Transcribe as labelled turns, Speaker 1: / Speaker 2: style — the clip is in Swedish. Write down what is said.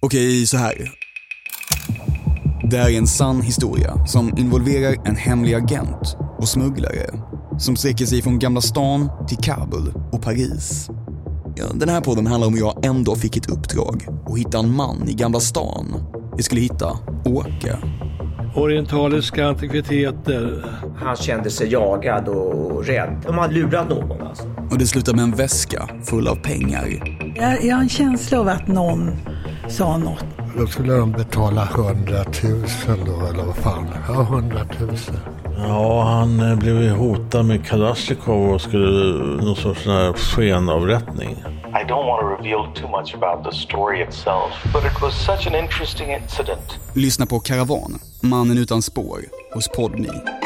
Speaker 1: Okej, så här. Det här är en sann historia som involverar en hemlig agent och smugglare som sträcker sig från Gamla stan till Kabul och Paris. Ja, Den här podden handlar om hur jag en dag fick ett uppdrag att hitta en man i Gamla stan. Vi skulle hitta Åke.
Speaker 2: Orientaliska antikviteter.
Speaker 3: Han kände sig jagad och rädd. De hade lurat någon alltså.
Speaker 1: Och det slutade med en väska full av pengar.
Speaker 4: Jag, jag har en känsla av att någon sa något.
Speaker 5: Då skulle de betala 100 000 då, eller vad fan. Ja, 100 000.
Speaker 6: Ja, han eh, blev ju hotad med Kalashnikov och skulle eh, någon sorts sån här skenavrättning.
Speaker 7: I don't want to reveal too much about the story itself, but it was such an interesting incident.
Speaker 1: Lyssna på Karavan, Mannen utan spår, hos Podmi.